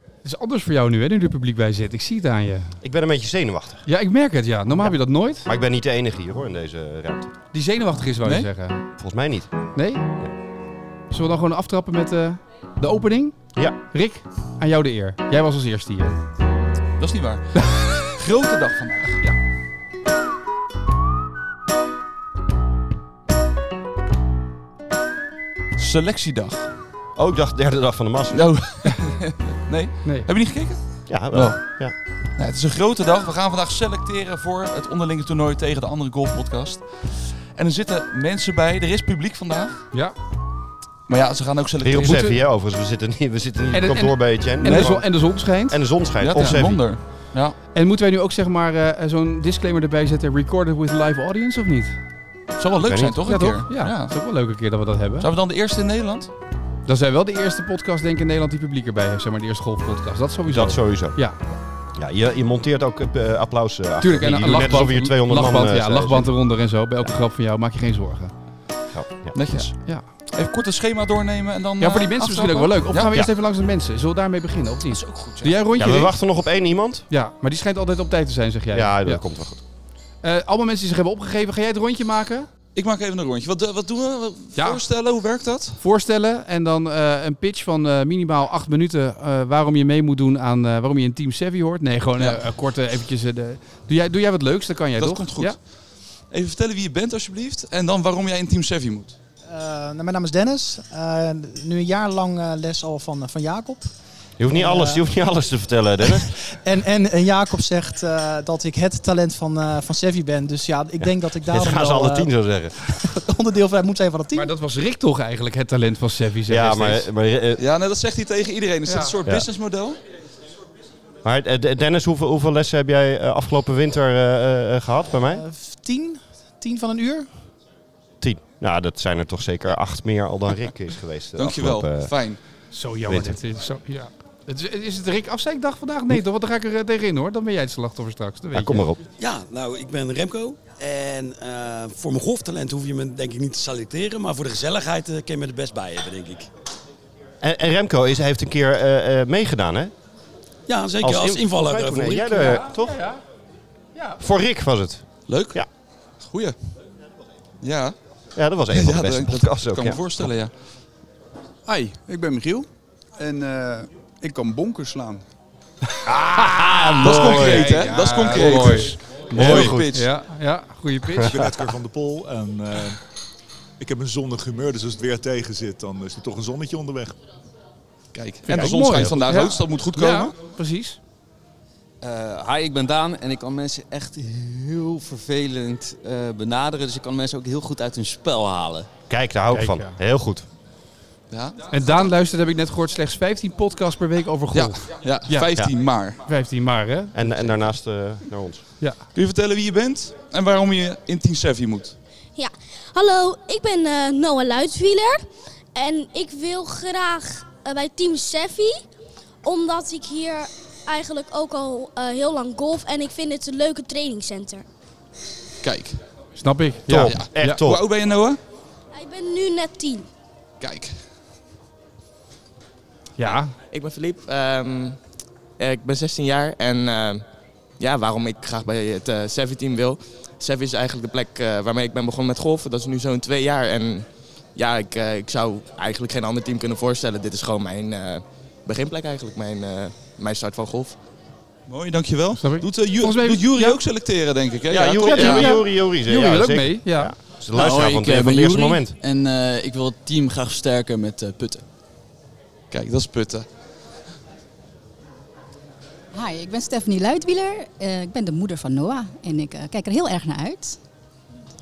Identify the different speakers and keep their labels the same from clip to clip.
Speaker 1: Het is anders voor jou nu, hè, nu er publiek bij zit. Ik zie het aan je.
Speaker 2: Ik ben een beetje zenuwachtig.
Speaker 1: Ja, ik merk het, ja. Normaal heb je dat nooit.
Speaker 2: Maar ik ben niet de enige hier hoor in deze ruimte.
Speaker 1: Die zenuwachtig is, wou je
Speaker 3: Nee?
Speaker 1: zeggen.
Speaker 2: Volgens mij niet.
Speaker 1: Nee? Zullen we dan gewoon aftrappen met eh, de opening?
Speaker 2: Ja,
Speaker 1: Rick, aan jou de eer. Jij was als eerste hier.
Speaker 3: Dat is niet waar. Grote dag vandaag. Selectiedag.
Speaker 2: ook dag Oh, derde dag van de massa.
Speaker 3: Nou, nee?
Speaker 1: Nee.
Speaker 3: Heb je niet gekeken?
Speaker 2: Ja, wel.
Speaker 3: Wel.
Speaker 2: Ja.
Speaker 3: Nou, het is een grote dag. We gaan vandaag selecteren voor het onderlinge toernooi tegen de andere golfpodcast. En er zitten mensen bij. Er is publiek vandaag.
Speaker 1: Ja.
Speaker 3: Maar ja, ze gaan ook
Speaker 2: Hier op
Speaker 3: selecteren.
Speaker 2: Sevi, hè, overigens. We zitten niet, we zitten niet
Speaker 1: En
Speaker 2: op
Speaker 1: de-
Speaker 2: het kantoor bij Etienne.
Speaker 1: En,
Speaker 2: Nee,
Speaker 1: de zon,
Speaker 2: gewoon-
Speaker 1: en de zon schijnt.
Speaker 2: en de zon schijnt
Speaker 3: Ja,
Speaker 2: op
Speaker 3: dat is een
Speaker 2: Sevi.
Speaker 3: wonder. Ja.
Speaker 1: En moeten wij nu ook zeg maar eh, zo'n disclaimer erbij zetten? Recorded with live audience of niet?
Speaker 3: Het zou wel leuk
Speaker 2: Weet
Speaker 3: zijn,
Speaker 2: niet.
Speaker 3: toch?
Speaker 1: ja,
Speaker 3: een keer?
Speaker 1: toch? Ja. Dat is ook wel leuk een keer dat we dat hebben.
Speaker 3: Zijn we dan de eerste in Nederland?
Speaker 1: Dan zijn we wel de eerste podcast denk ik in Nederland die publiek erbij heeft. Zeg maar de eerste golfpodcast. Dat sowieso.
Speaker 2: Dat sowieso.
Speaker 1: Ja.
Speaker 2: Ja, je, je monteert ook eh, applaus eh, achter.
Speaker 1: Tuurlijk.
Speaker 2: Je
Speaker 1: En een
Speaker 2: doet net alsof hier 200
Speaker 1: lachband,
Speaker 2: man... eh,
Speaker 1: ja,
Speaker 2: zijn.
Speaker 1: lachband eronder en zo. Bij elke grap van jou maak je geen zorgen.
Speaker 2: Ja, ja.
Speaker 3: Netjes.
Speaker 1: Ja.
Speaker 3: Even kort het schema doornemen en dan.
Speaker 1: Ja, voor die
Speaker 3: eh,
Speaker 1: mensen misschien ook wel
Speaker 3: aftrappen.
Speaker 1: leuk. Of
Speaker 3: Ja,
Speaker 1: gaan we eerst
Speaker 2: Ja.
Speaker 1: even langs de mensen? Zullen we daarmee beginnen of
Speaker 3: dat is
Speaker 1: niet?
Speaker 3: ook goed.
Speaker 1: Doe
Speaker 3: Ja.
Speaker 1: jij een rondje?
Speaker 2: Ja, we
Speaker 1: Rick?
Speaker 2: wachten nog op één iemand.
Speaker 1: Ja, maar die schijnt altijd op tijd te zijn, zeg jij.
Speaker 2: Ja, dat komt wel goed.
Speaker 1: Eh, allemaal mensen die zich hebben opgegeven, ga jij het rondje maken?
Speaker 3: Ik maak even een rondje. Wat, eh, wat doen we? Wat-
Speaker 1: Ja.
Speaker 3: Voorstellen, hoe werkt dat?
Speaker 1: Voorstellen en dan eh, een pitch van eh, minimaal acht minuten eh, waarom je mee moet doen aan eh, waarom je een Team Savvy hoort. Nee, gewoon
Speaker 3: Ja.
Speaker 1: eh, eh, kort eh, eventjes. eh, de... doe, jij, doe jij wat leuks, dan kan jij
Speaker 3: dat
Speaker 1: toch?
Speaker 3: komt goed.
Speaker 1: Ja?
Speaker 3: Even vertellen wie je bent, alsjeblieft. En dan waarom jij in Team Sevi moet.
Speaker 4: Eh, nou, mijn naam is Dennis. Eh, nu een jaar lang eh, les al van, van Jacob.
Speaker 2: Je hoeft niet alles, je hoeft niet alles te vertellen, Dennis.
Speaker 4: En, en, en Jacob zegt eh, dat ik het talent van, eh van Sevi ben. Dus ja, ik denk dat ik
Speaker 2: Dit
Speaker 4: daarom
Speaker 2: gaan ze
Speaker 4: wel,
Speaker 2: alle
Speaker 4: eh,
Speaker 2: tien zo zeggen.
Speaker 4: onderdeel van moet zijn van het team.
Speaker 1: Maar dat was Rick toch eigenlijk, het talent van Savvy? zeg
Speaker 2: Ja,
Speaker 1: jij
Speaker 2: maar,
Speaker 1: steeds.
Speaker 2: maar, eh,
Speaker 3: Ja, nou, dat zegt hij tegen iedereen. Is
Speaker 1: Ja.
Speaker 3: dit een soort
Speaker 2: Ja.
Speaker 3: businessmodel?
Speaker 2: maar eh, Dennis, hoeveel, hoeveel lessen heb jij eh, afgelopen winter eh, eh, gehad bij mij?
Speaker 4: Eh, tien? Tien van een uur?
Speaker 2: Tien. Nou, dat zijn er toch zeker acht meer al dan Rick is geweest. de
Speaker 3: Dankjewel.
Speaker 2: afgelopen, eh,
Speaker 3: Fijn.
Speaker 1: Zo jammer.
Speaker 2: Weet
Speaker 1: Dit is, zo, ja. het is, is het Rick afzeikdag vandaag? Nee, toch? Want dan ga ik er eh, tegenin hoor. Dan ben jij het slachtoffer straks. Dat weet
Speaker 2: ja, kom
Speaker 1: je.
Speaker 2: maar op.
Speaker 5: Ja, nou, ik ben Remco. En eh, voor mijn golftalent hoef je me denk ik niet te selecteren. Maar voor de gezelligheid eh, kun je me er best bij hebben, denk ik.
Speaker 2: En, en Remco is, heeft een keer eh, eh, meegedaan, hè?
Speaker 5: Ja, zeker als,
Speaker 2: in-
Speaker 5: invaller.
Speaker 2: Kijk,
Speaker 5: eh,
Speaker 2: hoe
Speaker 5: voor
Speaker 2: deed
Speaker 5: Rick.
Speaker 2: jij er, toch?
Speaker 1: Ja,
Speaker 2: Voor Rick was het.
Speaker 3: Leuk.
Speaker 2: Ja.
Speaker 3: Goeie. Ja.
Speaker 2: Ja, dat was een van de
Speaker 3: Ja,
Speaker 2: beste
Speaker 3: dat,
Speaker 2: podcasts ook.
Speaker 3: kan
Speaker 2: ja.
Speaker 3: me voorstellen, ja.
Speaker 6: Hi, ik ben Michiel en eh, ik kan bonkers slaan.
Speaker 3: Ah, dat is
Speaker 2: mooi.
Speaker 3: concreet, hè? dat is concreet.
Speaker 1: mooi.
Speaker 3: Mooi.
Speaker 2: goed.
Speaker 3: pitch.
Speaker 1: ja, ja goede pitch.
Speaker 7: Ik ben Edgar van der Pol en eh, ik heb een zonnig humeur. Dus als het weer tegen zit, dan is er toch een zonnetje onderweg.
Speaker 3: Kijk, en de
Speaker 1: ook
Speaker 3: zon
Speaker 1: mooi.
Speaker 3: schijnt vandaag
Speaker 1: Ja.
Speaker 3: ook, dus dat moet goed komen.
Speaker 1: ja, precies.
Speaker 8: Eh, hi, ik ben Daan en ik kan mensen echt heel vervelend eh, benaderen. Dus ik kan mensen ook heel goed uit hun spel halen.
Speaker 2: Kijk, daar hou ik van.
Speaker 1: Kijk,
Speaker 2: Heel goed.
Speaker 3: Ja,
Speaker 1: En Daan luistert, heb ik net gehoord, slechts 15 podcasts per week over
Speaker 3: ja,
Speaker 1: golf.
Speaker 3: ja,
Speaker 1: Ja.
Speaker 3: 15 maar.
Speaker 1: 15 maar, hè?
Speaker 2: En, en daarnaast eh, naar ons.
Speaker 3: Kun je vertellen wie je bent en waarom je in Team Sevi moet?
Speaker 9: Ja, hallo, ik ben eh, Noah Luidwieler en ik wil graag eh, bij Team Seffi, omdat ik hier eigenlijk ook al eh, heel lang golf en ik vind het een leuke trainingscenter.
Speaker 3: Kijk,
Speaker 1: Snap ik.
Speaker 2: Top,
Speaker 1: Ja.
Speaker 2: echt
Speaker 1: Ja.
Speaker 3: hoe
Speaker 2: top.
Speaker 3: oud ben je Noah?
Speaker 9: Ik ben nu net tien.
Speaker 3: Kijk,
Speaker 1: Ja.
Speaker 10: Ik ben Filip, ehm, eh, ik ben 16 jaar en ehm, ja, waarom ik graag bij het eh Savvy team wil. Savvy is eigenlijk de plek eh, waarmee ik ben begonnen met golfen. Dat is nu zo'n twee jaar en ja, ik, eh, ik zou eigenlijk geen ander team kunnen voorstellen. Dit is gewoon mijn eh, beginplek eigenlijk, mijn, eh, mijn start van golf.
Speaker 3: mooi, dankjewel.
Speaker 1: Snap ik.
Speaker 3: Doet, eh, Ju-
Speaker 1: Volgens mij-
Speaker 3: doet Jury
Speaker 1: ja.
Speaker 3: ook selecteren, denk ik, hè?
Speaker 2: Ja,
Speaker 3: toch?
Speaker 2: Jori, Jori, Jori, Jori.
Speaker 1: Jullie
Speaker 2: ja,
Speaker 1: wil ook
Speaker 2: zeker.
Speaker 1: mee. Ja.
Speaker 2: Ja. Dat is de luisteraar van,
Speaker 10: ik, eh,
Speaker 2: het- van het
Speaker 10: ben
Speaker 2: eerste
Speaker 10: Juri.
Speaker 2: moment.
Speaker 10: En eh, ik wil het team graag versterken met eh, putten.
Speaker 3: Kijk, dat is putten.
Speaker 11: Hi, ik ben Stephanie Luidwieler. Eh, ik ben de moeder van Noah en ik eh, kijk er heel erg naar uit.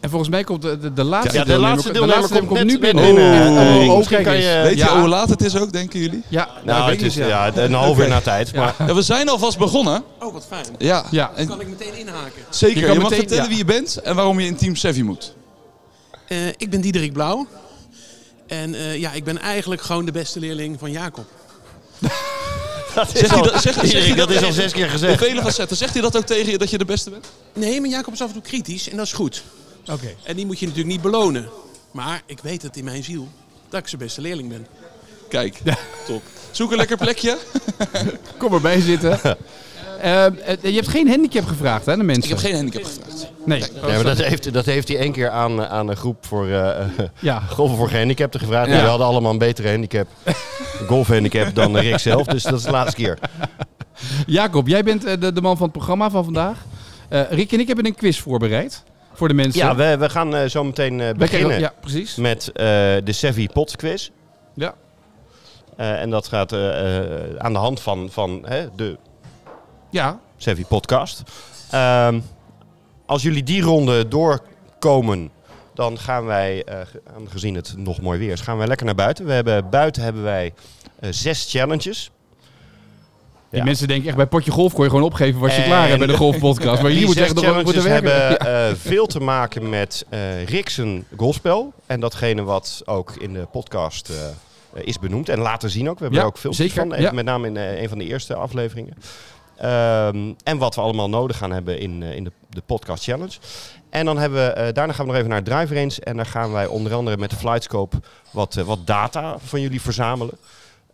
Speaker 1: En volgens mij komt de, de, de laatste
Speaker 2: Ja, de laatste
Speaker 1: de
Speaker 2: deelnemer komt
Speaker 1: komt
Speaker 2: net
Speaker 1: nu
Speaker 2: net
Speaker 1: binnen.
Speaker 2: binnen,
Speaker 1: Ja,
Speaker 2: eh,
Speaker 1: oh,
Speaker 2: Rick.
Speaker 1: oh,
Speaker 2: Misschien
Speaker 1: kijk
Speaker 2: kan je-
Speaker 1: eens.
Speaker 3: Weet
Speaker 1: Ja.
Speaker 3: je hoe laat het is ook, denken jullie?
Speaker 1: Ja,
Speaker 2: Nou,
Speaker 1: weet
Speaker 2: het
Speaker 1: ik
Speaker 2: is
Speaker 1: niet,
Speaker 2: ja. een half uur na tijd. Maar
Speaker 3: Ja, we zijn alvast begonnen.
Speaker 5: Oh, wat fijn.
Speaker 3: Ja,
Speaker 1: Ja.
Speaker 3: en
Speaker 5: ik meteen inhaken.
Speaker 3: zeker.
Speaker 1: Je
Speaker 3: Je,
Speaker 1: kan
Speaker 3: mag
Speaker 1: meteen-
Speaker 3: vertellen
Speaker 1: ja.
Speaker 3: wie je bent en waarom je in Team Sevi moet.
Speaker 5: ik ben Diederik Blauw. En eh, ja, ik ben eigenlijk gewoon de beste leerling van Jacob.
Speaker 2: dat
Speaker 3: Zeg
Speaker 2: is
Speaker 3: je
Speaker 2: al-
Speaker 3: dat- zeg- zeg je
Speaker 2: Erik,
Speaker 3: dat
Speaker 2: dat is al
Speaker 3: tegen-
Speaker 2: zes keer
Speaker 3: In
Speaker 2: gezegd.
Speaker 3: vele facetten. Zegt hij dat ook tegen je, dat je de beste bent?
Speaker 5: Nee, maar Jacob is af en toe kritisch en dat is goed.
Speaker 1: Oké.
Speaker 5: En die moet je natuurlijk niet belonen. Maar ik weet het in mijn ziel dat ik zijn beste leerling ben.
Speaker 3: Kijk, top. Zoek een lekker plekje.
Speaker 1: Kom erbij zitten. Ehm, eh, je hebt geen handicap gevraagd hè, de mensen?
Speaker 3: Ik heb geen handicap gevraagd.
Speaker 1: Nee.
Speaker 2: Ja, maar dat, heeft, dat heeft hij één keer aan, eh, aan een groep voor eh,
Speaker 1: Ja.
Speaker 2: golven voor gehandicapten gevraagd. En
Speaker 1: Ja.
Speaker 2: die hadden allemaal een betere handicap, golfhandicap, dan Rick zelf. Dus dat is de laatste keer.
Speaker 1: Jacob, jij bent eh, de, de man van het programma van vandaag. Eh, Rick en ik hebben een quiz voorbereid voor de mensen.
Speaker 2: Ja, we, we gaan eh, zo meteen eh, beginnen
Speaker 1: krijgen- ja, precies.
Speaker 2: met eh, de Sevi Pot Quiz.
Speaker 1: Ja.
Speaker 2: Eh, en dat gaat eh, eh, aan de hand van, van hè, de
Speaker 1: Ja.
Speaker 2: Sevi Podcast. Ehm, als jullie die ronde doorkomen, dan gaan wij, eh, ge- aangezien het nog mooi weer is, gaan wij lekker naar buiten. We hebben, buiten hebben wij eh, zes challenges.
Speaker 1: Oh, Die mensen denken echt bij potje golf kon je gewoon opgeven was je klaar hebt bij de golfpodcast. Maar
Speaker 2: die
Speaker 1: hier moet je
Speaker 2: zes
Speaker 1: echt nog aan moeten
Speaker 2: challenges
Speaker 1: werken.
Speaker 2: hebben
Speaker 1: Ja.
Speaker 2: eh, veel te maken met eh Riksen golfspel. En datgene wat ook in de podcast eh, eh, is benoemd. En laten zien ook. We hebben
Speaker 1: Ja,
Speaker 2: er ook filmpjes
Speaker 1: zeker,
Speaker 2: van. eh,
Speaker 1: ja.
Speaker 2: Met name in eh, een van de eerste afleveringen. Ehm, en wat we allemaal nodig gaan hebben in, eh, in de, de podcast challenge. En dan hebben we, eh, daarna gaan we nog even naar het drive range. En daar gaan wij onder andere met de Flightscope wat, eh, wat data van jullie verzamelen.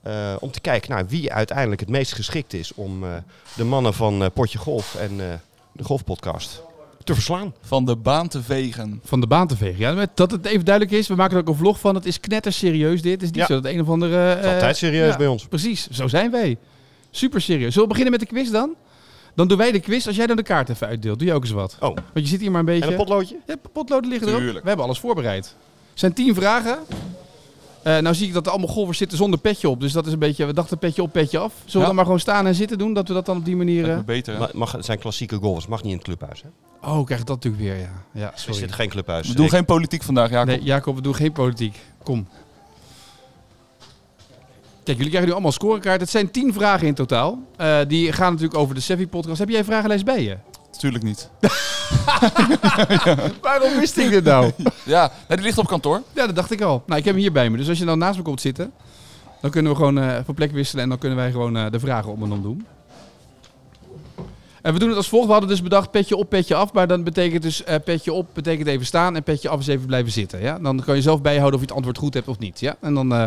Speaker 2: Eh, om te kijken naar wie uiteindelijk het meest geschikt is om eh, de mannen van eh, Potje Golf en eh, de Golfpodcast te verslaan.
Speaker 3: Van de baan te vegen.
Speaker 1: Van de baan te vegen. Ja, maar dat het even duidelijk is. We maken er ook een vlog van. Het is knetterserieus dit. Het is niet
Speaker 2: Ja.
Speaker 1: zo dat een of andere... eh,
Speaker 2: is altijd serieus bij ons.
Speaker 1: Precies. Zo zijn wij. Super serieus. Zullen we beginnen met de quiz dan? Dan doen wij de quiz. Als jij dan de kaart even uitdeelt, doe je ook eens wat.
Speaker 2: Oh.
Speaker 1: Want je zit hier maar een beetje...
Speaker 2: En een potloodje?
Speaker 1: Ja, potloden liggen erop.
Speaker 2: Tuurlijk.
Speaker 1: We hebben alles voorbereid. Het zijn tien vragen. Eh, nou zie ik dat er allemaal golfers zitten zonder petje op. Dus dat is een beetje... We dachten petje op, petje af. Zullen we
Speaker 2: Ja.
Speaker 1: dan maar gewoon staan en zitten doen? Dat we dat dan op die manier... eh,
Speaker 3: beter.
Speaker 2: Mag, het zijn klassieke golfers, mag niet in het clubhuis. Hè?
Speaker 1: Oh, krijg ik dat natuurlijk weer, ja. ja
Speaker 2: Dus
Speaker 1: sorry.
Speaker 2: Is dit geen clubhuis?
Speaker 3: We doen geen politiek vandaag, Jacob.
Speaker 1: Nee, Jacob, we doen geen politiek. Kom. Kijk, jullie krijgen nu allemaal scorekaart. Het zijn tien vragen in totaal. Eh, die gaan natuurlijk over de Sevi-podcast. Heb jij een vragenlijst bij je?
Speaker 3: Natuurlijk niet.
Speaker 1: Waarom wist ik dit nou?
Speaker 3: ja, nou, die ligt op kantoor.
Speaker 1: Ja, dat dacht ik al. Nou, ik heb hem hier bij me. Dus als je dan naast me komt zitten, dan kunnen we gewoon eh, van plek wisselen. En dan kunnen wij gewoon eh, de vragen om en om doen. En we doen het als volgt. We hadden dus bedacht petje op, petje af. Maar dan betekent dus eh, petje op betekent even staan en petje af is even blijven zitten. Ja? Dan kan je zelf bijhouden of je het antwoord goed hebt of niet. Ja? En dan eh,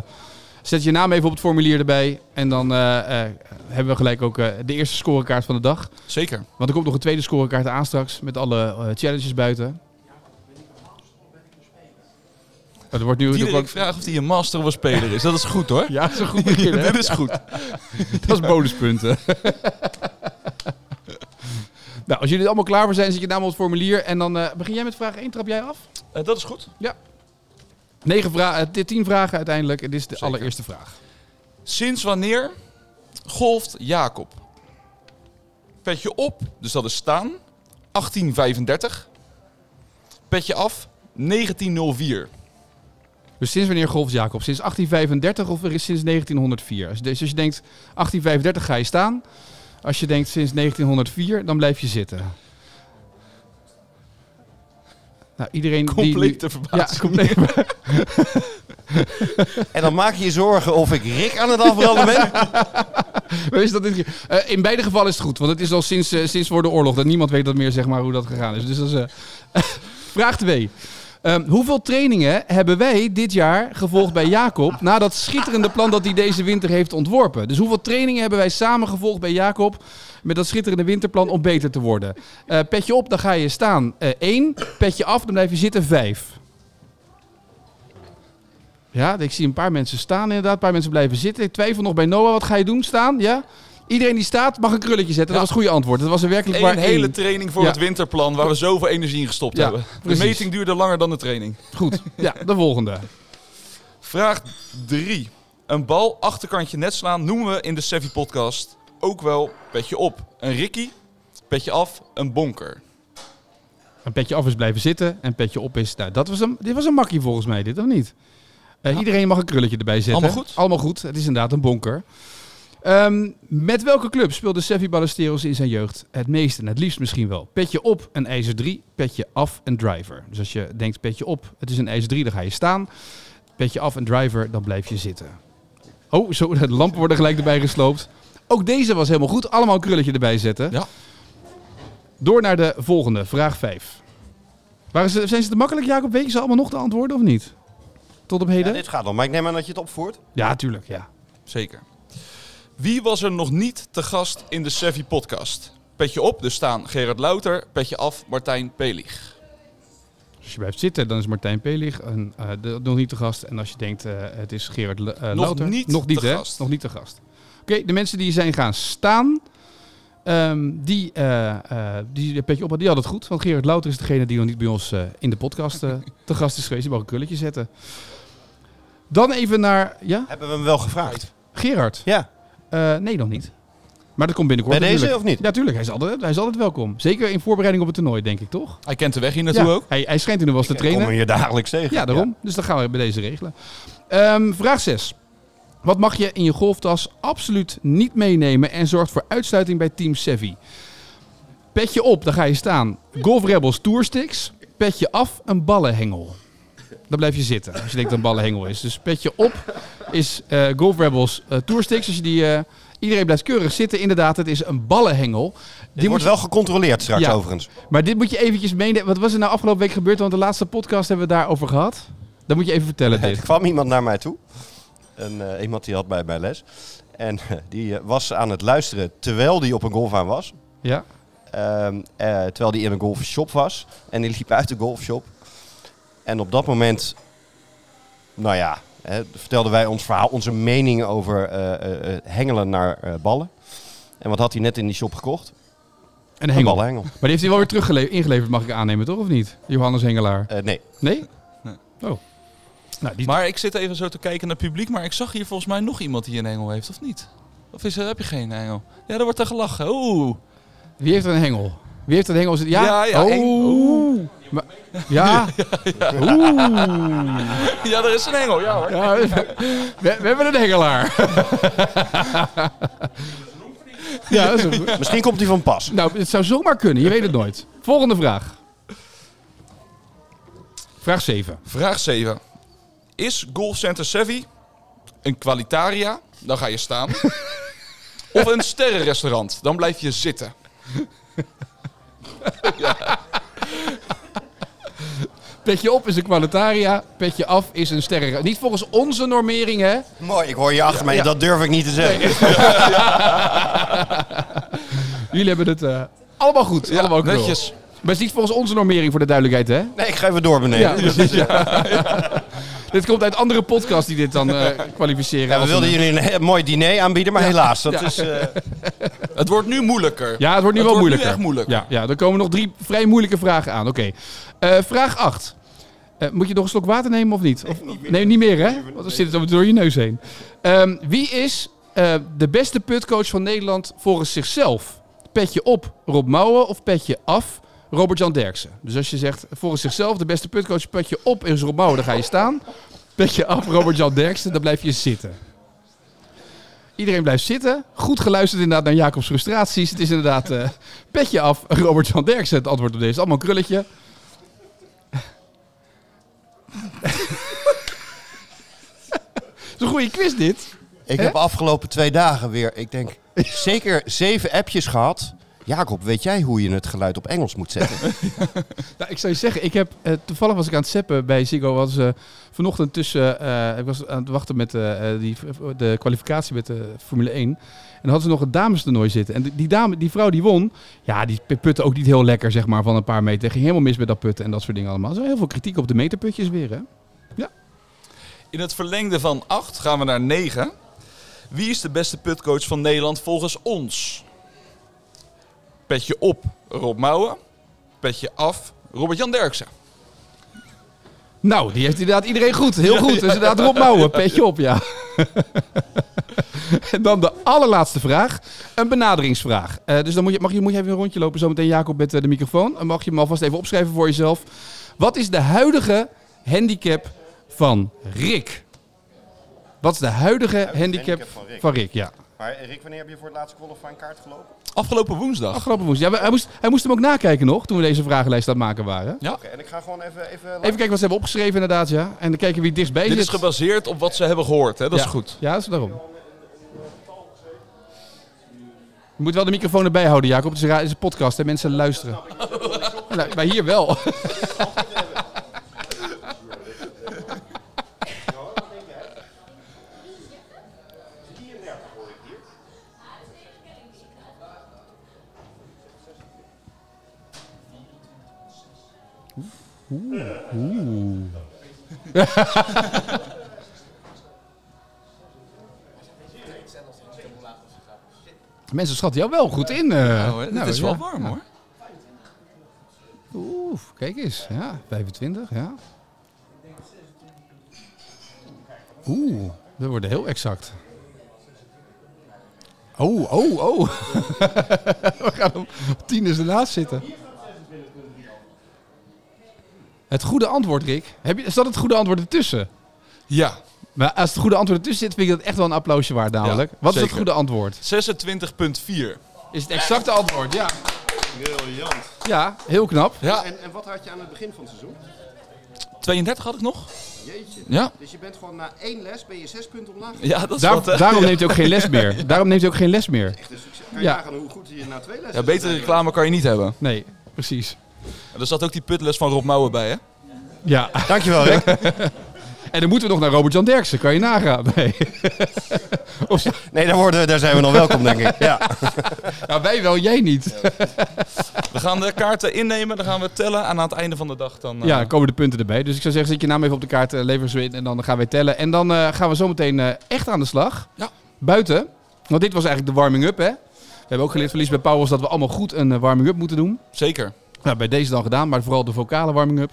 Speaker 1: zet je naam even op het formulier erbij. En dan eh, eh, hebben we gelijk ook eh, de eerste scorekaart van de dag.
Speaker 3: Zeker.
Speaker 1: Want er komt nog een tweede scorekaart aan straks met alle eh, challenges buiten. Oh, Er wordt nu...
Speaker 3: Diederik vraagt of hij een master of een speler is. Dat is goed hoor.
Speaker 1: Ja, dat is een goed begin. hè?
Speaker 3: Dit is
Speaker 1: Ja.
Speaker 3: goed.
Speaker 1: Dat is bonuspunten. nou, als jullie er allemaal klaar voor zijn, zet je naam op het formulier. En dan eh, begin jij met vraag 1, trap jij af?
Speaker 3: Eh, dat is goed.
Speaker 1: Ja. Negen vra eh, tien vragen uiteindelijk. En dit is de allereerste vraag.
Speaker 3: Sinds wanneer golft Jacob? Petje op, dus dat is staan. 1835. Petje af, 1904.
Speaker 1: Dus sinds wanneer golft Jacob? Sinds 1835 of er is sinds 1904? Dus- Dus als je denkt 1835 ga je staan. Als je denkt sinds 1904, dan blijf je zitten. Nou, iedereen die nu-
Speaker 2: Complete verbazing.
Speaker 1: Ja, compleet.
Speaker 2: En dan maak je je zorgen of ik Rick aan het afbranden ben.
Speaker 1: Maar is dat dit keer- Eh, in beide gevallen is het goed, want het is al sinds, eh, sinds voor de oorlog dat niemand weet dat meer zeg maar, hoe dat gegaan is. Dus dat is, eh, vraag 2. Ehm, hoeveel trainingen hebben wij dit jaar gevolgd bij Jacob na dat schitterende plan dat hij deze winter heeft ontworpen? Dus hoeveel trainingen hebben wij samen gevolgd bij Jacob met dat schitterende winterplan om beter te worden? Eh, petje op, dan ga je staan 1. petje af, dan blijf je zitten 5. Ja, ik zie een paar mensen staan inderdaad. Een paar mensen blijven zitten. Ik twijfel nog bij Noah. Wat ga je doen? Staan? Ja? Iedereen die staat mag een krulletje zetten. Dat was het goede antwoord. Dat was er werkelijk
Speaker 3: Een
Speaker 1: maar
Speaker 3: hele
Speaker 1: één.
Speaker 3: training voor
Speaker 1: Ja.
Speaker 3: het winterplan waar we zoveel energie in gestopt
Speaker 1: Ja,
Speaker 3: hebben.
Speaker 1: precies.
Speaker 3: De meting duurde langer dan de training.
Speaker 1: Goed. Ja, de volgende.
Speaker 3: Vraag 3. Een bal achterkantje net slaan noemen we in de Sevi podcast ook wel petje op. Een Ricky, petje af, een bonker.
Speaker 1: Een petje af is blijven zitten. En petje op is... Nou, dat was een, dit was een makkie volgens mij, dit of niet? Eh, Iedereen mag een krulletje erbij zetten.
Speaker 3: Allemaal goed?
Speaker 1: Allemaal goed. Het is inderdaad een bonker. Ehm, met welke club speelde Seffi Ballesteros in zijn jeugd het meest en het liefst misschien wel? Petje op, een ijzer 3. Petje af, een driver. Dus als je denkt petje op, het is een ijzer 3, dan ga je staan. Petje af, een driver, dan blijf je zitten. Oh, zo, de lampen worden gelijk erbij gesloopt. Ook deze was helemaal goed. Allemaal een krulletje erbij zetten.
Speaker 3: Ja.
Speaker 1: Door naar de volgende, vraag 5. Waren ze, zijn ze te makkelijk, Jacob? Weet je ze allemaal nog de antwoorden of niet? tot op heden?
Speaker 2: Ja, dit gaat wel, maar ik neem aan dat je het opvoert.
Speaker 1: Ja, tuurlijk, ja.
Speaker 3: Zeker. Wie was er nog niet te gast in de Sevi podcast? Petje op, dus staan Gerard Louter. Petje af, Martijn Pelig.
Speaker 1: Als je blijft zitten, dan is Martijn Pelig een, eh, de- nog niet te gast. En als je denkt, eh, het is Gerard Le- eh,
Speaker 3: Nog
Speaker 1: Louter.
Speaker 3: niet
Speaker 1: nog niet
Speaker 3: te
Speaker 1: hè?
Speaker 3: gast.
Speaker 1: Nog niet te gast. Oké, de mensen die zijn gaan staan, ehm, die, eh, eh, die, een petje op, hadden, die hadden het goed. Want Gerard Louter is degene die nog niet bij ons eh, in de podcast eh, te gast is geweest. Die mag een kulletje zetten. Dan even naar... Ja?
Speaker 2: Hebben we hem wel gevraagd?
Speaker 1: Gerard? Eh,
Speaker 2: Ja.
Speaker 1: nee, nog niet. Maar dat komt binnenkort
Speaker 2: Bij deze
Speaker 1: natuurlijk.
Speaker 2: of niet?
Speaker 1: Ja, tuurlijk. Hij is, altijd, hij is altijd welkom. Zeker in voorbereiding op het toernooi, denk ik, toch?
Speaker 3: Hij kent de weg hier naartoe
Speaker 1: Ja,
Speaker 3: ook.
Speaker 1: Hij, hij schijnt in de was te trainen.
Speaker 2: kom hem hier dagelijks tegen.
Speaker 1: Ja, daarom. Dus dat gaan we bij deze regelen. Ehm, vraag 6. Wat mag je in je golftas absoluut niet meenemen en zorgt voor uitsluiting bij Team Sevi? Petje op, daar ga je staan. Golf Rebels Toursticks. Petje af, een ballenhengel. Dan blijf je zitten als je denkt dat een ballenhengel is. Dus petje op is eh Golf Rebels eh, Toursticks. Als je die, eh, iedereen blijft keurig zitten. Inderdaad, het is een ballenhengel. Die
Speaker 2: wordt wel gecontroleerd straks
Speaker 1: Ja.
Speaker 2: overigens.
Speaker 1: Maar dit moet je eventjes meenemen. Wat was er nou afgelopen week gebeurd? Want de laatste podcast hebben we daarover gehad. Dat moet je even vertellen dit.
Speaker 2: Er kwam iemand naar mij toe. Een, eh, iemand die had bij mij les. En eh, die eh, was aan het luisteren terwijl die op een golfbaan was.
Speaker 1: Ja.
Speaker 2: Ehm, eh, terwijl die in een golfshop was. En die liep uit de golfshop. En op dat moment, nou ja, hè, vertelden wij ons verhaal, onze mening over eh, eh, eh, hengelen naar eh, ballen. En wat had hij net in die shop gekocht?
Speaker 1: Een hengel.
Speaker 2: ballenhengel.
Speaker 1: Maar die heeft hij wel weer terug ingeleverd, mag ik aannemen, toch? Of niet? Johannes Hengelaar.
Speaker 2: Eh, nee.
Speaker 1: Nee?
Speaker 3: Nee.
Speaker 1: Oh. Nou, die...
Speaker 3: Maar ik zit even zo te kijken naar het publiek. Maar ik zag hier volgens mij nog iemand die een engel heeft, of niet? Of is, er- heb je geen engel? Ja, daar wordt er gelachen. Oeh.
Speaker 1: Wie heeft er een hengel? Wie heeft er een hengel? Is het- Ja?
Speaker 3: Ja, ja,
Speaker 1: oh.
Speaker 3: eng-
Speaker 1: Maar- Ja? Oeh.
Speaker 3: Ja, er is een engel. Ja hoor.
Speaker 1: Ja, we, we hebben een hengelaar. ja, dat is een-
Speaker 2: Misschien komt hij van pas.
Speaker 1: Nou, het zou zomaar kunnen. Je weet het nooit. Volgende vraag. Vraag 7.
Speaker 3: Vraag 7. Is Golfcenter Sevi een kwalitaria? Dan ga je staan. of een sterrenrestaurant? Dan blijf je zitten.
Speaker 1: Petje op is een kwalitaria. Petje af is een sterren. Niet volgens onze normering, hè?
Speaker 2: Mooi, ik hoor je achter mij.
Speaker 1: Ja.
Speaker 2: Dat durf ik niet te zeggen.
Speaker 1: Jullie hebben het eh, allemaal goed. allemaal knul.
Speaker 3: netjes.
Speaker 1: Maar het is niet volgens onze normering, voor de duidelijkheid, hè?
Speaker 2: Nee, ik ga even door beneden.
Speaker 1: Ja, precies, ja. dit komt uit andere podcasts die dit dan eh, kwalificeren.
Speaker 2: Ja, we
Speaker 1: als
Speaker 2: wilden
Speaker 1: een-
Speaker 2: jullie een he- mooi diner aanbieden, maar helaas. Dat
Speaker 1: Ja.
Speaker 2: is, eh,
Speaker 3: Het wordt nu moeilijker.
Speaker 1: Ja, het wordt nu wel moeilijker.
Speaker 3: echt moeilijker.
Speaker 1: Ja, ja, er komen nog drie vrij moeilijke vragen aan. Oké. Eh, vraag 8. moet je nog een slok water nemen of niet? Of, nee, niet meer hè? Want dan zit het over door je neus heen. Ehm, wie is eh, de beste putcoach van Nederland volgens zichzelf? Petje op Rob Mouwen of petje af Robert-Jan Derksen? Dus als je zegt volgens zichzelf de beste putcoach, petje op is Rob Mouwen, dan ga je staan. Petje af Robert-Jan Derksen, dan blijf je zitten. Iedereen blijft zitten. Goed geluisterd inderdaad naar Jacobs frustraties. Het is inderdaad eh, petje af. Robert Jan Derksen het antwoord op deze. Allemaal een krulletje. Het is een goede quiz dit.
Speaker 2: Ik
Speaker 1: Hè?
Speaker 2: heb afgelopen twee dagen weer, ik denk, zeker zeven appjes gehad. Jacob, weet jij hoe je het geluid op Engels moet zetten?
Speaker 1: Nou, ik zou je zeggen, ik heb, eh, toevallig was ik aan het zeppen bij Ziggo. Was eh, vanochtend tussen, eh, ik was aan het wachten met eh, eh, die, de kwalificatie met de Formule 1. En dan hadden ze nog het damestoernooi zitten. En die- die, dame, die vrouw die won, ja, die putte ook niet heel lekker zeg maar, van een paar meter. Ging helemaal mis met dat putten en dat soort dingen allemaal. Er is heel veel kritiek op de meterputjes weer, hè?
Speaker 3: In het verlengde van 8 gaan we naar 9. Wie is de beste putcoach van Nederland volgens ons? Petje op Rob Mouwen. Petje af Robert-Jan Derksen.
Speaker 1: Nou, die heeft inderdaad iedereen goed. Heel goed. Dus inderdaad Rob Mouwen, petje op, ja. en dan de allerlaatste vraag. Een benaderingsvraag. Eh, dus dan moet je, mag je, moet je even een rondje lopen. Zometeen Jacob met eh, de microfoon. Dan mag je hem alvast even opschrijven voor jezelf. Wat is de huidige handicap van Rick? Wat is de huidige handicap, van, Rick. Ja.
Speaker 2: Maar Rick, wanneer heb je voor het laatste qualifying kaart gelopen?
Speaker 3: Afgelopen woensdag.
Speaker 1: Afgelopen woensdag. Ja, hij, moest, hij moest hem ook nakijken nog, toen we deze vragenlijst aan het maken waren.
Speaker 3: Ja.
Speaker 2: en ik ga gewoon even... Even,
Speaker 1: Even kijken wat ze hebben opgeschreven inderdaad, ja. En dan kijken wie het dichtstbij
Speaker 3: Dit
Speaker 1: zit.
Speaker 3: is gebaseerd op wat ze hebben gehoord. Hè? Dat
Speaker 1: Ja.
Speaker 3: is goed.
Speaker 1: Ja, dat is daarom. Je moet wel de microfoon erbij houden, Jacob. Het is een, ra- het is een podcast en mensen luisteren. Nou, maar hier wel. Oeh. Oeh. Mensen schatten jou wel goed in. eh.
Speaker 3: Nou, hè, het is wel
Speaker 1: ja.
Speaker 3: warm,
Speaker 1: Ja.
Speaker 3: hoor.
Speaker 1: Oeh, kijk eens. Ja, 25, ja. Oeh, we worden heel exact. Oh, oh, oh. we gaan om tien is ernaast zitten. Het goede antwoord, Rick. Heb je, zat het goede antwoord ertussen?
Speaker 3: Ja.
Speaker 1: Maar als het goede antwoord ertussen zit, vind ik dat echt wel een applausje waard namelijk. Wat is het
Speaker 3: zeker.
Speaker 1: goede antwoord?
Speaker 3: 26,4.
Speaker 1: Is het exacte antwoord, ja.
Speaker 2: Briljant.
Speaker 1: Ja, heel knap.
Speaker 2: En, en wat had je aan het begin van het seizoen?
Speaker 3: 32 had ik nog?
Speaker 2: Jeetje.
Speaker 3: Ja.
Speaker 2: Dus je bent gewoon na één les ben je zes punten omlaag.
Speaker 3: Ja, dat is
Speaker 1: Daar-
Speaker 3: wat, hè?
Speaker 1: daarom
Speaker 3: Ja.
Speaker 1: neemt hij ook geen les meer. Daarom neemt hij ook geen les meer.
Speaker 2: Kan je
Speaker 1: Ja.
Speaker 2: nagaan hoe goed je na twee lessen
Speaker 3: Ja, betere reclame kan je niet hebben.
Speaker 1: Nee, precies.
Speaker 3: En er zat ook die putles van Rob Mouwen bij, hè?
Speaker 1: Ja.
Speaker 2: Dankjewel, Rick.
Speaker 1: en dan moeten we nog naar Robert-Jan Derksen. Kan je nagaan? Nee. Of-
Speaker 2: Nee, daar, worden, daar zijn we nog welkom, denk ik. Ja.
Speaker 1: Ja, wij wel, jij niet.
Speaker 3: We gaan de kaarten innemen, dan gaan we tellen. En aan het einde van de dag dan... eh,
Speaker 1: Ja, dan komen de punten erbij. Dus ik zou zeggen, zet je naam even op de kaart, eh, lever ze in en dan gaan wij tellen. En dan eh, gaan we zometeen eh, echt aan de slag.
Speaker 3: Ja.
Speaker 1: Buiten. Want dit was eigenlijk de warming-up, hè? We hebben ook geleerd verlies bij Powers dat we allemaal goed een eh, warming-up moeten doen.
Speaker 3: Zeker.
Speaker 1: Nou, bij deze dan gedaan, maar vooral de vocale warming-up.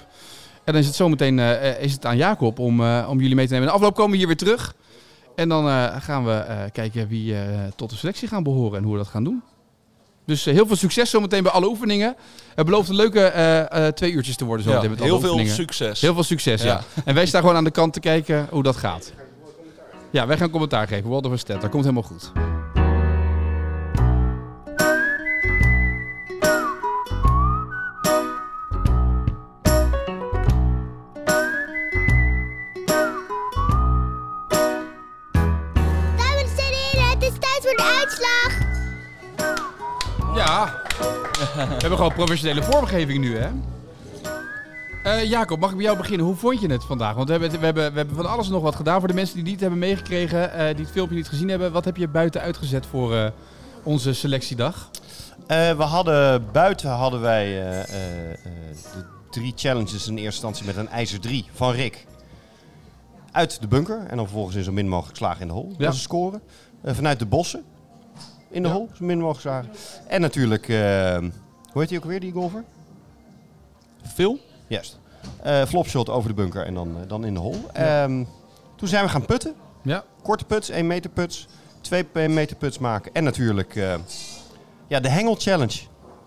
Speaker 1: En dan is het zometeen eh, eh, is het aan Jacob om, eh, om jullie mee te nemen. In de afloop komen we hier weer terug. En dan eh, gaan we eh, kijken wie eh, tot de selectie gaan behoren en hoe we dat gaan doen. Dus eh, heel veel succes zometeen bij alle oefeningen. Het belooft een leuke eh, eh, twee uurtjes te worden zo
Speaker 3: Ja,
Speaker 1: meteen met alle
Speaker 3: heel veel
Speaker 1: oefeningen.
Speaker 3: succes.
Speaker 1: Heel veel succes, ja.
Speaker 3: Ja.
Speaker 1: En wij staan gewoon aan de kant te kijken hoe dat gaat. Ja, wij gaan commentaar geven. Walter van Stet, dat komt helemaal goed.
Speaker 12: Dames en heren, het is tijd voor de uitslag.
Speaker 1: Ja. We hebben gewoon professionele vormgeving nu, hè? Eh, Jacob, mag ik bij jou beginnen? Hoe vond je het vandaag? Want we hebben, we, hebben, we hebben van alles en nog wat gedaan. Voor de mensen die het niet hebben meegekregen, eh, die het filmpje niet gezien hebben. Wat heb je buiten uitgezet voor eh, onze selectiedag?
Speaker 2: Eh, we hadden buiten hadden wij eh, eh, eh, de drie challenges in eerste instantie met een ijzer 3 van Rick. Uit de bunker en dan vervolgens in zo min mogelijk slagen in de hol.
Speaker 1: Ja.
Speaker 2: Dat is scoren. Eh, vanuit de bossen in de hol, zo min mogelijk slagen. En natuurlijk, eh, hoe heet hij ook weer, die golfer?
Speaker 3: Phil?
Speaker 2: Juist. Eh, flopshot over de bunker en dan, eh, dan in de hol. Ehm, toen zijn we gaan putten.
Speaker 1: Ja.
Speaker 2: Korte puts, 1 meter puts, 2 meter puts maken. En natuurlijk eh, ja, de hengel challenge.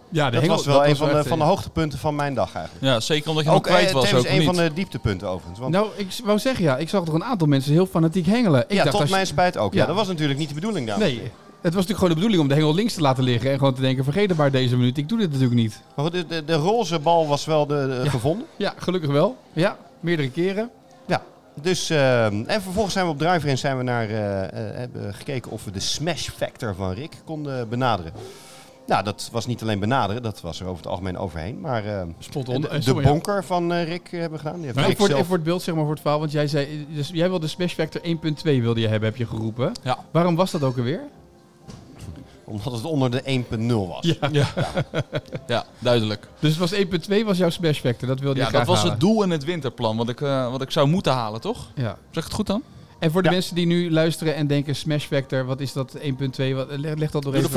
Speaker 1: Ja, de
Speaker 2: dat
Speaker 1: hengel-
Speaker 2: was wel
Speaker 1: dat
Speaker 2: een
Speaker 1: was
Speaker 2: van,
Speaker 1: wel
Speaker 2: de,
Speaker 1: echt,
Speaker 2: van de
Speaker 1: eh,
Speaker 2: hoogtepunten van mijn dag eigenlijk.
Speaker 3: Ja, zeker omdat je nog
Speaker 2: eh,
Speaker 3: kwijt was
Speaker 2: tevens
Speaker 3: ook,
Speaker 2: een
Speaker 3: of
Speaker 2: van
Speaker 3: niet?
Speaker 2: de dieptepunten overigens. Want
Speaker 1: Nou, ik wou zeggen ja, ik zag toch een aantal mensen heel fanatiek hengelen. Ik
Speaker 2: ja,
Speaker 1: dacht,
Speaker 2: tot
Speaker 1: als je-
Speaker 2: mijn spijt ook. Ja. dat was natuurlijk niet de bedoeling daar.
Speaker 1: Nee, het was natuurlijk gewoon de bedoeling om de hengel links te laten liggen. En gewoon te denken, vergeet het maar deze minuut. Ik doe dit natuurlijk niet.
Speaker 2: Maar goed, de, de, de roze bal was wel de, de- gevonden.
Speaker 1: Ja, gelukkig wel. Ja, meerdere keren.
Speaker 2: Ja. Dus, eh, en vervolgens zijn we op Driver in zijn we naar, eh, eh, hebben gekeken of we de smash factor van Rick konden benaderen. Nou, dat was niet alleen benaderen, dat was er over het algemeen overheen. Maar eh,
Speaker 1: Spot on. Eh,
Speaker 2: de, de
Speaker 1: sorry, ja.
Speaker 2: bonker van eh, Rick eh, hebben we gedaan. Die heeft
Speaker 1: Maar
Speaker 2: Rick
Speaker 1: even, voor,
Speaker 2: zelf-
Speaker 1: even voor het beeld, zeg maar, voor het verhaal. Want jij zei, eh, dus jij wilde Smash Factor 1.2 wilde je hebben, heb je geroepen.
Speaker 3: Ja.
Speaker 1: Waarom was dat ook alweer?
Speaker 2: Omdat het onder de 1.0 was.
Speaker 1: Ja. Ja.
Speaker 3: Ja, duidelijk.
Speaker 1: Dus het was 1.2 was jouw Smash Factor, dat wilde
Speaker 3: Ja,
Speaker 1: je
Speaker 3: dat
Speaker 1: graag
Speaker 3: was het
Speaker 1: halen.
Speaker 3: doel in het winterplan, wat ik, eh, wat ik zou moeten halen, toch?
Speaker 1: Ja.
Speaker 3: Zeg het goed dan?
Speaker 1: En voor de mensen die nu luisteren en denken, Smash Factor, wat is dat 1.2? Wat- eh, Leg, leg dat door even.
Speaker 2: De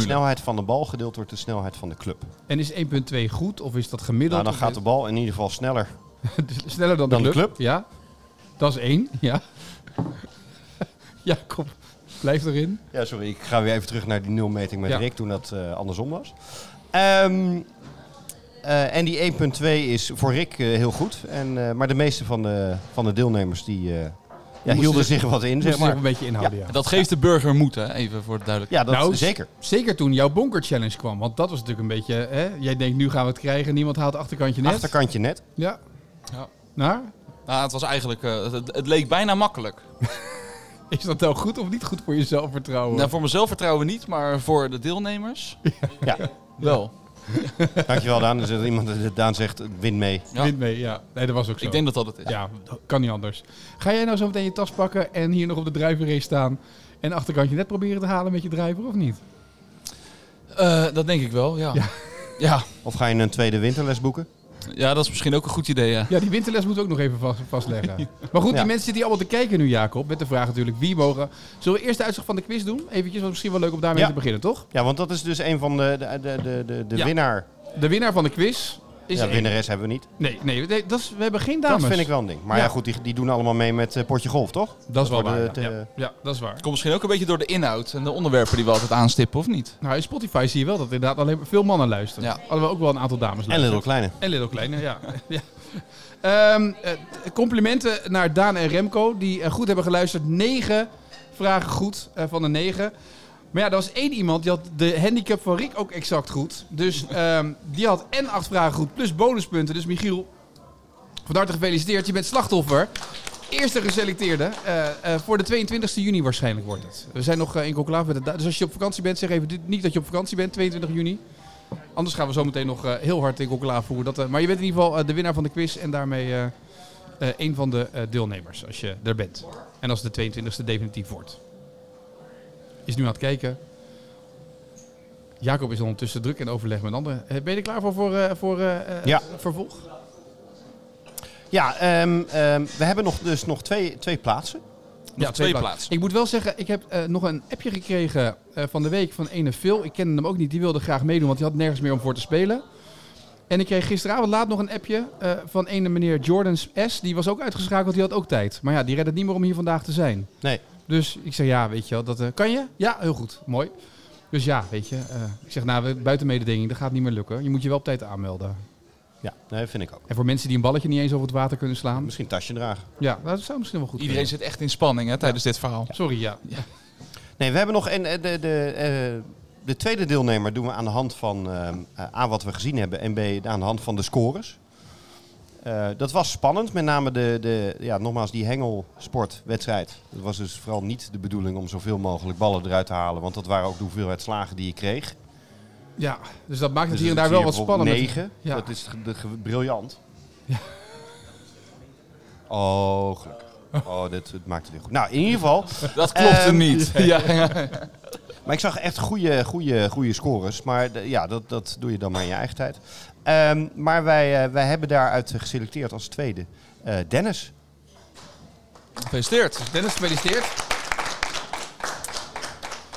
Speaker 2: snelheid van de bal gedeeld wordt de snelheid van de club.
Speaker 1: En is 1.2 goed of is dat gemiddeld?
Speaker 2: Nou, dan
Speaker 1: Of
Speaker 2: gaat
Speaker 1: is-
Speaker 2: de bal in ieder geval sneller.
Speaker 1: Sneller dan,
Speaker 2: Dan
Speaker 1: de,
Speaker 2: de
Speaker 1: club. Ja, dat is één. Ja. Jacob, blijf erin.
Speaker 2: Ja, sorry, ik ga weer even terug naar die nulmeting met
Speaker 1: Ja.
Speaker 2: Rick toen dat eh, andersom was. Ehm, eh, en die 1.2 is voor Rick eh, heel goed. En, eh, maar de meeste van de, van de deelnemers die, eh, ja, hielden
Speaker 1: zich-
Speaker 2: zich wat in.
Speaker 1: moesten
Speaker 2: Zeg maar.
Speaker 1: zich een beetje inhouden, ja.
Speaker 3: Dat geeft de burger moed, hè? Even voor het duidelijk.
Speaker 2: Ja, dat
Speaker 1: s- Nou, Zeker toen jouw Bonker Challenge kwam. Want dat was natuurlijk een beetje... Hè? Jij denkt, nu gaan we het krijgen. Niemand haalt achterkantje net.
Speaker 2: Achterkantje net.
Speaker 1: Ja.
Speaker 3: Ja.
Speaker 1: Naar?
Speaker 3: Nou, het was eigenlijk... eh, het, het leek bijna makkelijk.
Speaker 1: Is dat nou goed of niet goed voor je zelfvertrouwen?
Speaker 3: Nou, voor mezelf vertrouwen niet, maar voor de deelnemers...
Speaker 2: Ja.
Speaker 3: Wel.
Speaker 2: Dankjewel Daan. Er zit iemand die- Daan zegt, win mee.
Speaker 3: Ja.
Speaker 1: Wint mee, ja. Nee, dat was ook zo.
Speaker 3: Ik denk dat dat het is.
Speaker 1: Ja, dat kan niet anders. Ga jij nou zo meteen je tas pakken en hier nog op de drijverrace staan... en achterkantje net proberen te halen met je drijver of niet?
Speaker 3: Eh, dat denk ik wel, ja. Ja.
Speaker 2: Of ga je een tweede winterles boeken?
Speaker 3: Ja, dat is misschien ook een goed idee, ja.
Speaker 1: Ja, die winterles moeten we ook nog even vast- vastleggen. Maar goed, die
Speaker 3: Ja.
Speaker 1: mensen zitten hier allemaal te kijken nu, Jacob. Met de vraag natuurlijk, wie mogen... Zullen we eerst de uitslag van de quiz doen? Eventjes, want misschien wel leuk om daarmee
Speaker 2: Ja.
Speaker 1: te beginnen, toch?
Speaker 2: Ja, want dat is dus een van de, de, de, de, de, de
Speaker 1: Ja.
Speaker 2: winnaar.
Speaker 1: De winnaar van de quiz is...
Speaker 2: ja,
Speaker 1: één.
Speaker 2: winnares hebben we niet.
Speaker 1: Nee, nee, nee, dat is, we hebben geen dames.
Speaker 2: Dat vind ik wel een ding. Maar ja, goed, die, die doen allemaal mee met eh, potje golf, toch?
Speaker 1: Dat is wel
Speaker 2: wordt,
Speaker 1: waar,
Speaker 2: eh,
Speaker 1: ja.
Speaker 2: te-
Speaker 1: Ja. Ja, dat is waar.
Speaker 3: Komt misschien ook een beetje door de inhoud en de onderwerpen die we altijd aanstippen, of niet?
Speaker 1: Nou, in Spotify zie je wel dat inderdaad alleen maar veel mannen luisteren.
Speaker 3: Ja.
Speaker 1: Hadden we ook wel een aantal dames luisteren.
Speaker 2: Little Kleine.
Speaker 1: En Little Kleine, ja. ja. Ehm, eh, complimenten naar Daan en Remco, die eh, goed hebben geluisterd. Negen vragen goed eh, van de negen. Maar ja, er was één iemand die had de handicap van Rick ook exact goed. Dus ehm, die had en acht vragen goed, plus bonuspunten. Dus Michiel, van harte gefeliciteerd. Je bent slachtoffer. Eerste geselecteerde. eh, eh, voor de 22 juni waarschijnlijk wordt het. We zijn nog eh, in conclave met het. da- Dus als je op vakantie bent, zeg even dit- niet dat je op vakantie bent, 22 juni. Anders gaan we zo meteen nog eh, heel hard in conclave voeren. Dat, eh, maar je bent in ieder geval eh, de winnaar van de quiz en daarmee eh, eh, een van de eh, deelnemers als je er bent. En als de 22e definitief wordt. Is nu aan het kijken. Jacob is ondertussen druk in overleg met anderen. Eh, Ben je er klaar voor voor, eh, voor eh, eh,
Speaker 2: Ja.
Speaker 1: vervolg?
Speaker 2: Ja, ehm, ehm, we hebben nog, dus nog twee, twee plaatsen.
Speaker 1: Ja, twee plaatsen. Ik moet wel zeggen, ik heb eh, nog een appje gekregen eh, van de week van ene Phil. Ik kende hem ook niet, die wilde graag meedoen, want die had nergens meer om voor te spelen. En ik kreeg gisteravond laat nog een appje eh, van ene meneer Jordan S. Die was ook uitgeschakeld, die had ook tijd. Maar ja, die redde het niet meer om hier vandaag te zijn.
Speaker 2: Nee.
Speaker 1: Dus ik zeg, ja, weet je wel, dat eh, kan je? Ja, heel goed, mooi. Dus ja, weet je, eh, ik zeg, nou, we- buiten mededinging, dat gaat niet meer lukken. Je moet je wel op tijd aanmelden.
Speaker 2: Ja, nee, vind ik ook.
Speaker 1: En voor mensen die een balletje niet eens over het water kunnen slaan.
Speaker 2: Misschien tasje dragen.
Speaker 1: Ja, dat zou misschien wel goed
Speaker 3: Iedereen zit echt in spanning hè, tijdens dit verhaal.
Speaker 1: Sorry, ja.
Speaker 2: Nee, we hebben nog een, eh, de, de, eh, de tweede deelnemer doen we aan de hand van ehm, eh, A, wat we gezien hebben en B, aan de hand van de scores. Eh, dat was spannend, met name de, de, ja, nogmaals die hengelsportwedstrijd. Het was dus vooral niet de bedoeling om zoveel mogelijk ballen eruit te halen, want dat waren ook de hoeveelheid slagen die je kreeg.
Speaker 1: Ja, dus dat maakt het
Speaker 2: Dus
Speaker 1: hier en daar
Speaker 2: zie
Speaker 1: wel
Speaker 2: je
Speaker 1: wat spannend.
Speaker 2: bijvoorbeeld Negen, dat is ge- de, ge- briljant. Oh, gelukkig. Oh, dit, het maakt het weer goed. Nou, in ieder geval.
Speaker 3: Dat klopte
Speaker 2: ehm,
Speaker 3: niet. Ja, ja.
Speaker 2: Maar ik zag echt goede, goede, goede scores. Maar de- ja, dat, dat doe je dan maar in je eigen tijd. Ehm, maar wij, eh, wij hebben daaruit geselecteerd als tweede eh, Dennis.
Speaker 3: Gefeliciteerd.
Speaker 1: Dennis, gefeliciteerd.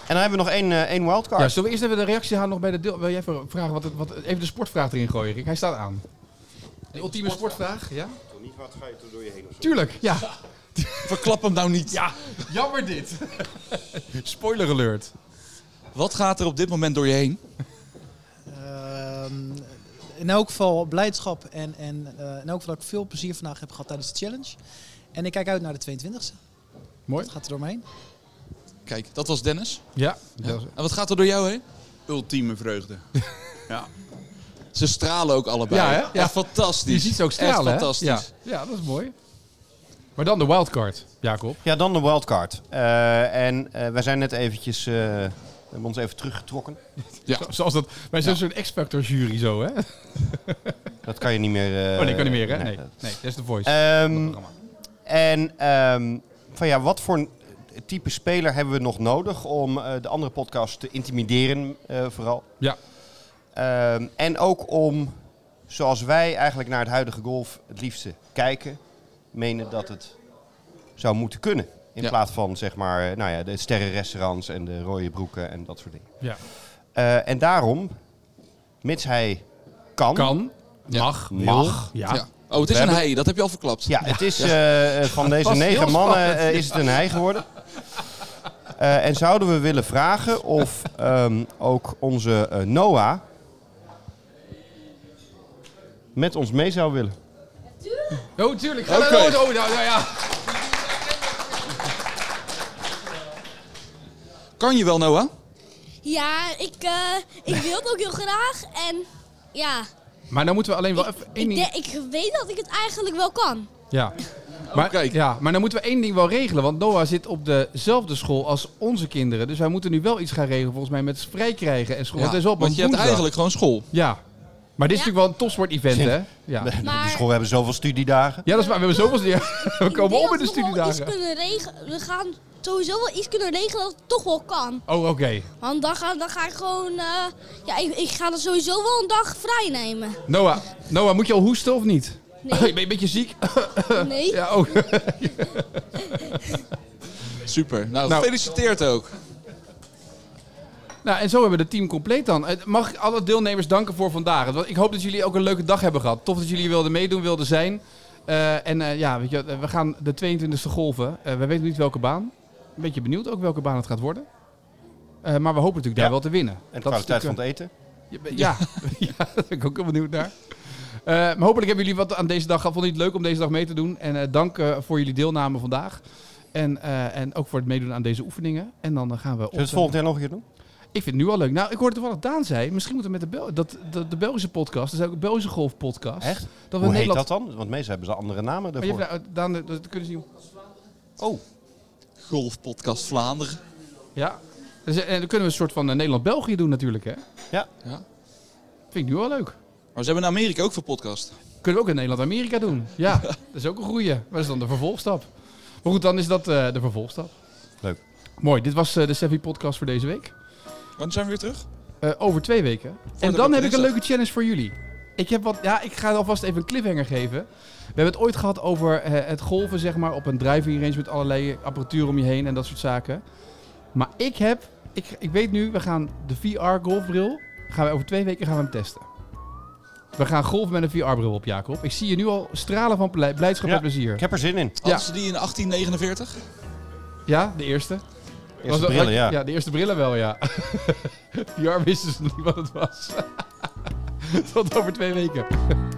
Speaker 2: En dan hebben we nog één, eh, één wildcard.
Speaker 1: Ja, zullen we eerst even de reactie halen nog bij de deel... Wil jij even vragen wat, het- wat... Even de sportvraag erin gooien, Rick. Hij staat aan. De ultieme sportvraag, ja?
Speaker 2: Niet wat ga je er door je heen
Speaker 1: Tuurlijk, ja.
Speaker 3: Verklap hem nou niet. Ja,
Speaker 1: jammer dit.
Speaker 3: Spoiler alert. Wat gaat er op dit moment door je heen?
Speaker 4: Ehm, in elk geval blijdschap en, en eh, in elk geval dat ik veel plezier vandaag heb gehad tijdens de challenge. En ik kijk uit naar de 22e.
Speaker 1: Mooi.
Speaker 4: Dat gaat er door me heen.
Speaker 3: Kijk, dat was Dennis.
Speaker 1: Ja.
Speaker 3: En wat gaat er door jou heen?
Speaker 6: Ultieme vreugde. ja.
Speaker 3: Ze stralen ook allebei.
Speaker 1: Ja, hè?
Speaker 3: Echt
Speaker 1: Ja.
Speaker 3: fantastisch.
Speaker 1: Je ziet ze ook stralen, hè?
Speaker 3: Echt fantastisch.
Speaker 1: Ja. ja, dat is mooi. Maar dan de wildcard, Jacob.
Speaker 2: Ja, dan de wildcard. Eh, en eh, wij zijn net eventjes... eh, we hebben ons even teruggetrokken.
Speaker 1: Ja. Zoals dat... Wij zijn
Speaker 2: Ja.
Speaker 1: zo'n X-Factor jury zo,
Speaker 2: Eh,
Speaker 1: hè?
Speaker 2: Dat kan je niet meer... eh,
Speaker 1: Oh, nee, kan niet meer, hè? Nee.
Speaker 2: dat-
Speaker 1: Nee, dat is The Voice.
Speaker 2: Ehm,
Speaker 1: Dat programma.
Speaker 2: en ehm, van ja, wat voor een type speler hebben we nog nodig om eh, de andere podcast te intimideren, eh, vooral?
Speaker 1: Ja.
Speaker 2: Ehm, en ook om, zoals wij eigenlijk naar het huidige golf het liefste kijken, menen dat het zou moeten kunnen. In
Speaker 3: Ja.
Speaker 2: plaats van zeg maar, eh, nou ja, de sterrenrestaurants en de rode broeken en dat soort dingen.
Speaker 1: Ja.
Speaker 2: Eh, en daarom, mits hij kan,
Speaker 1: Kan, mag,
Speaker 2: mag
Speaker 1: wil, ja. Ja.
Speaker 3: Oh, het
Speaker 2: We
Speaker 3: is een
Speaker 2: hebben-
Speaker 3: hij. Dat heb je al verklapt.
Speaker 2: Ja, het is
Speaker 3: Ja.
Speaker 2: eh, eh, van deze
Speaker 3: Pas heel
Speaker 2: negen
Speaker 3: spannend.
Speaker 2: mannen eh, is het een hij geworden. Eh, en zouden we willen vragen of ehm, ook onze eh, Noah met ons mee zou willen?
Speaker 1: Oh, tuurlijk. Ga
Speaker 3: Oké.
Speaker 1: naar oh, nou, nou, ja.
Speaker 3: Kan je wel, Noah?
Speaker 9: Ja, ik, eh, ik wil het ook heel graag. En ja,
Speaker 1: Maar dan moeten we alleen wel Oh, even één
Speaker 9: ik,
Speaker 1: ding...
Speaker 9: denk- ik weet dat ik het eigenlijk wel kan.
Speaker 1: Ja. Maar, ja, maar dan moeten we één ding wel regelen. Want Noah zit op dezelfde school als onze kinderen. Dus wij moeten nu wel iets gaan regelen, volgens mij, met vrij krijgen en school.
Speaker 3: Ja,
Speaker 1: het is wel op
Speaker 3: want
Speaker 1: een
Speaker 3: je hebt
Speaker 1: woensdag.
Speaker 3: eigenlijk gewoon school.
Speaker 1: Ja. Maar dit is natuurlijk wel een topsport-event, hè? Ja.
Speaker 9: Maar-
Speaker 2: Die school hebben zoveel studiedagen.
Speaker 1: ja, dat is waar. We hebben zoveel... Ja, we
Speaker 9: Ik denk
Speaker 1: komen om in
Speaker 9: dat
Speaker 1: de
Speaker 9: we nog wel iets
Speaker 1: studiedagen.
Speaker 9: kunnen regelen. We gaan sowieso wel iets kunnen regelen dat het toch wel kan.
Speaker 1: Oh, oké.
Speaker 9: Want dan ga, dan ga ik gewoon... eh, ja, ik, ik ga er sowieso wel een dag vrij nemen.
Speaker 1: Noah, Noah, moet je al hoesten of niet?
Speaker 9: Nee.
Speaker 1: Ben je een beetje ziek?
Speaker 9: Nee.
Speaker 1: Ja, oh.
Speaker 3: Super. Nou,
Speaker 1: Nou.
Speaker 3: gefeliciteerd ook.
Speaker 1: Nou, en zo hebben we het team compleet dan. Eh, Mag ik alle deelnemers danken voor vandaag. Het was- Ik hoop dat jullie ook een leuke dag hebben gehad. Tof dat jullie wilden meedoen, wilden zijn. Eh, en eh, ja, weet je, wat, eh, we gaan de 22e golven. Eh, we weten niet welke baan. Een beetje benieuwd ook welke baan het gaat worden. Eh, maar we hopen natuurlijk daar
Speaker 2: Ja.
Speaker 1: wel te winnen.
Speaker 2: En de
Speaker 1: Dat is
Speaker 2: kwaliteit van het
Speaker 1: natuurlijk, eh,
Speaker 2: eten.
Speaker 1: Ja, ja, daar ben ik ook heel benieuwd naar. Eh, maar hopelijk hebben jullie wat aan deze dag gehad. Vond je het leuk om deze dag mee te doen? En eh, dank eh, voor jullie deelname vandaag. En, eh, en ook voor het meedoen aan deze oefeningen. En dan eh, gaan we op...
Speaker 2: Zullen we het volgend jaar nog een keer doen?
Speaker 1: Ik vind het nu al leuk. Nou, ik hoorde toevallig Daan zei, misschien moeten we met de, Bel dat, dat, de Belgische podcast, dat is ook een Belgische golfpodcast.
Speaker 2: Echt?
Speaker 1: Dat we
Speaker 2: Hoe heet
Speaker 1: Nederland...
Speaker 2: dat dan? Want meestal hebben ze andere namen
Speaker 1: Maar je
Speaker 2: daarvoor.
Speaker 1: hebt nou- Daan, eh, dat kunnen ze niet...
Speaker 2: Oh.
Speaker 3: Golfpodcast Vlaanderen.
Speaker 1: Ja. Dus, eh, en dan kunnen we een soort van eh, Nederland-België doen natuurlijk, hè?
Speaker 2: Ja.
Speaker 3: ja.
Speaker 1: Vind ik nu al leuk.
Speaker 3: Maar ze hebben in Amerika ook veel podcast.
Speaker 1: Kunnen we ook in Nederland-Amerika doen. Ja, dat is ook een goeie. Maar dat is dan de vervolgstap. Maar goed, dan is dat eh, de vervolgstap.
Speaker 2: Leuk.
Speaker 1: Mooi, dit was eh, de Sevi podcast voor deze week.
Speaker 3: Wanneer zijn we weer terug?
Speaker 1: Eh, over twee weken. en
Speaker 3: de
Speaker 1: dan heb ik een
Speaker 3: dinsdag.
Speaker 1: leuke challenge voor jullie. Ik, heb wat, ja, ik ga alvast even een cliffhanger geven. We hebben het ooit gehad over eh, het golven zeg maar, op een driving range met allerlei apparatuur om je heen en dat soort zaken. Maar ik heb, ik, ik weet nu, we gaan de VR-golfbril, gaan we over twee weken gaan we hem testen. We gaan golven met een VR-bril op, Jacob. Ik zie je nu al stralen van blij- blijdschap en plezier. Ik
Speaker 2: heb er zin in.
Speaker 1: Ja,
Speaker 3: Hadden ze die in 1849?
Speaker 1: ja de eerste.
Speaker 2: Eerste
Speaker 1: Was dat-
Speaker 2: brillen, ja.
Speaker 1: Ja, de eerste brillen wel, ja. dus VR wisten ze nog niet wat het was. Tot over twee weken.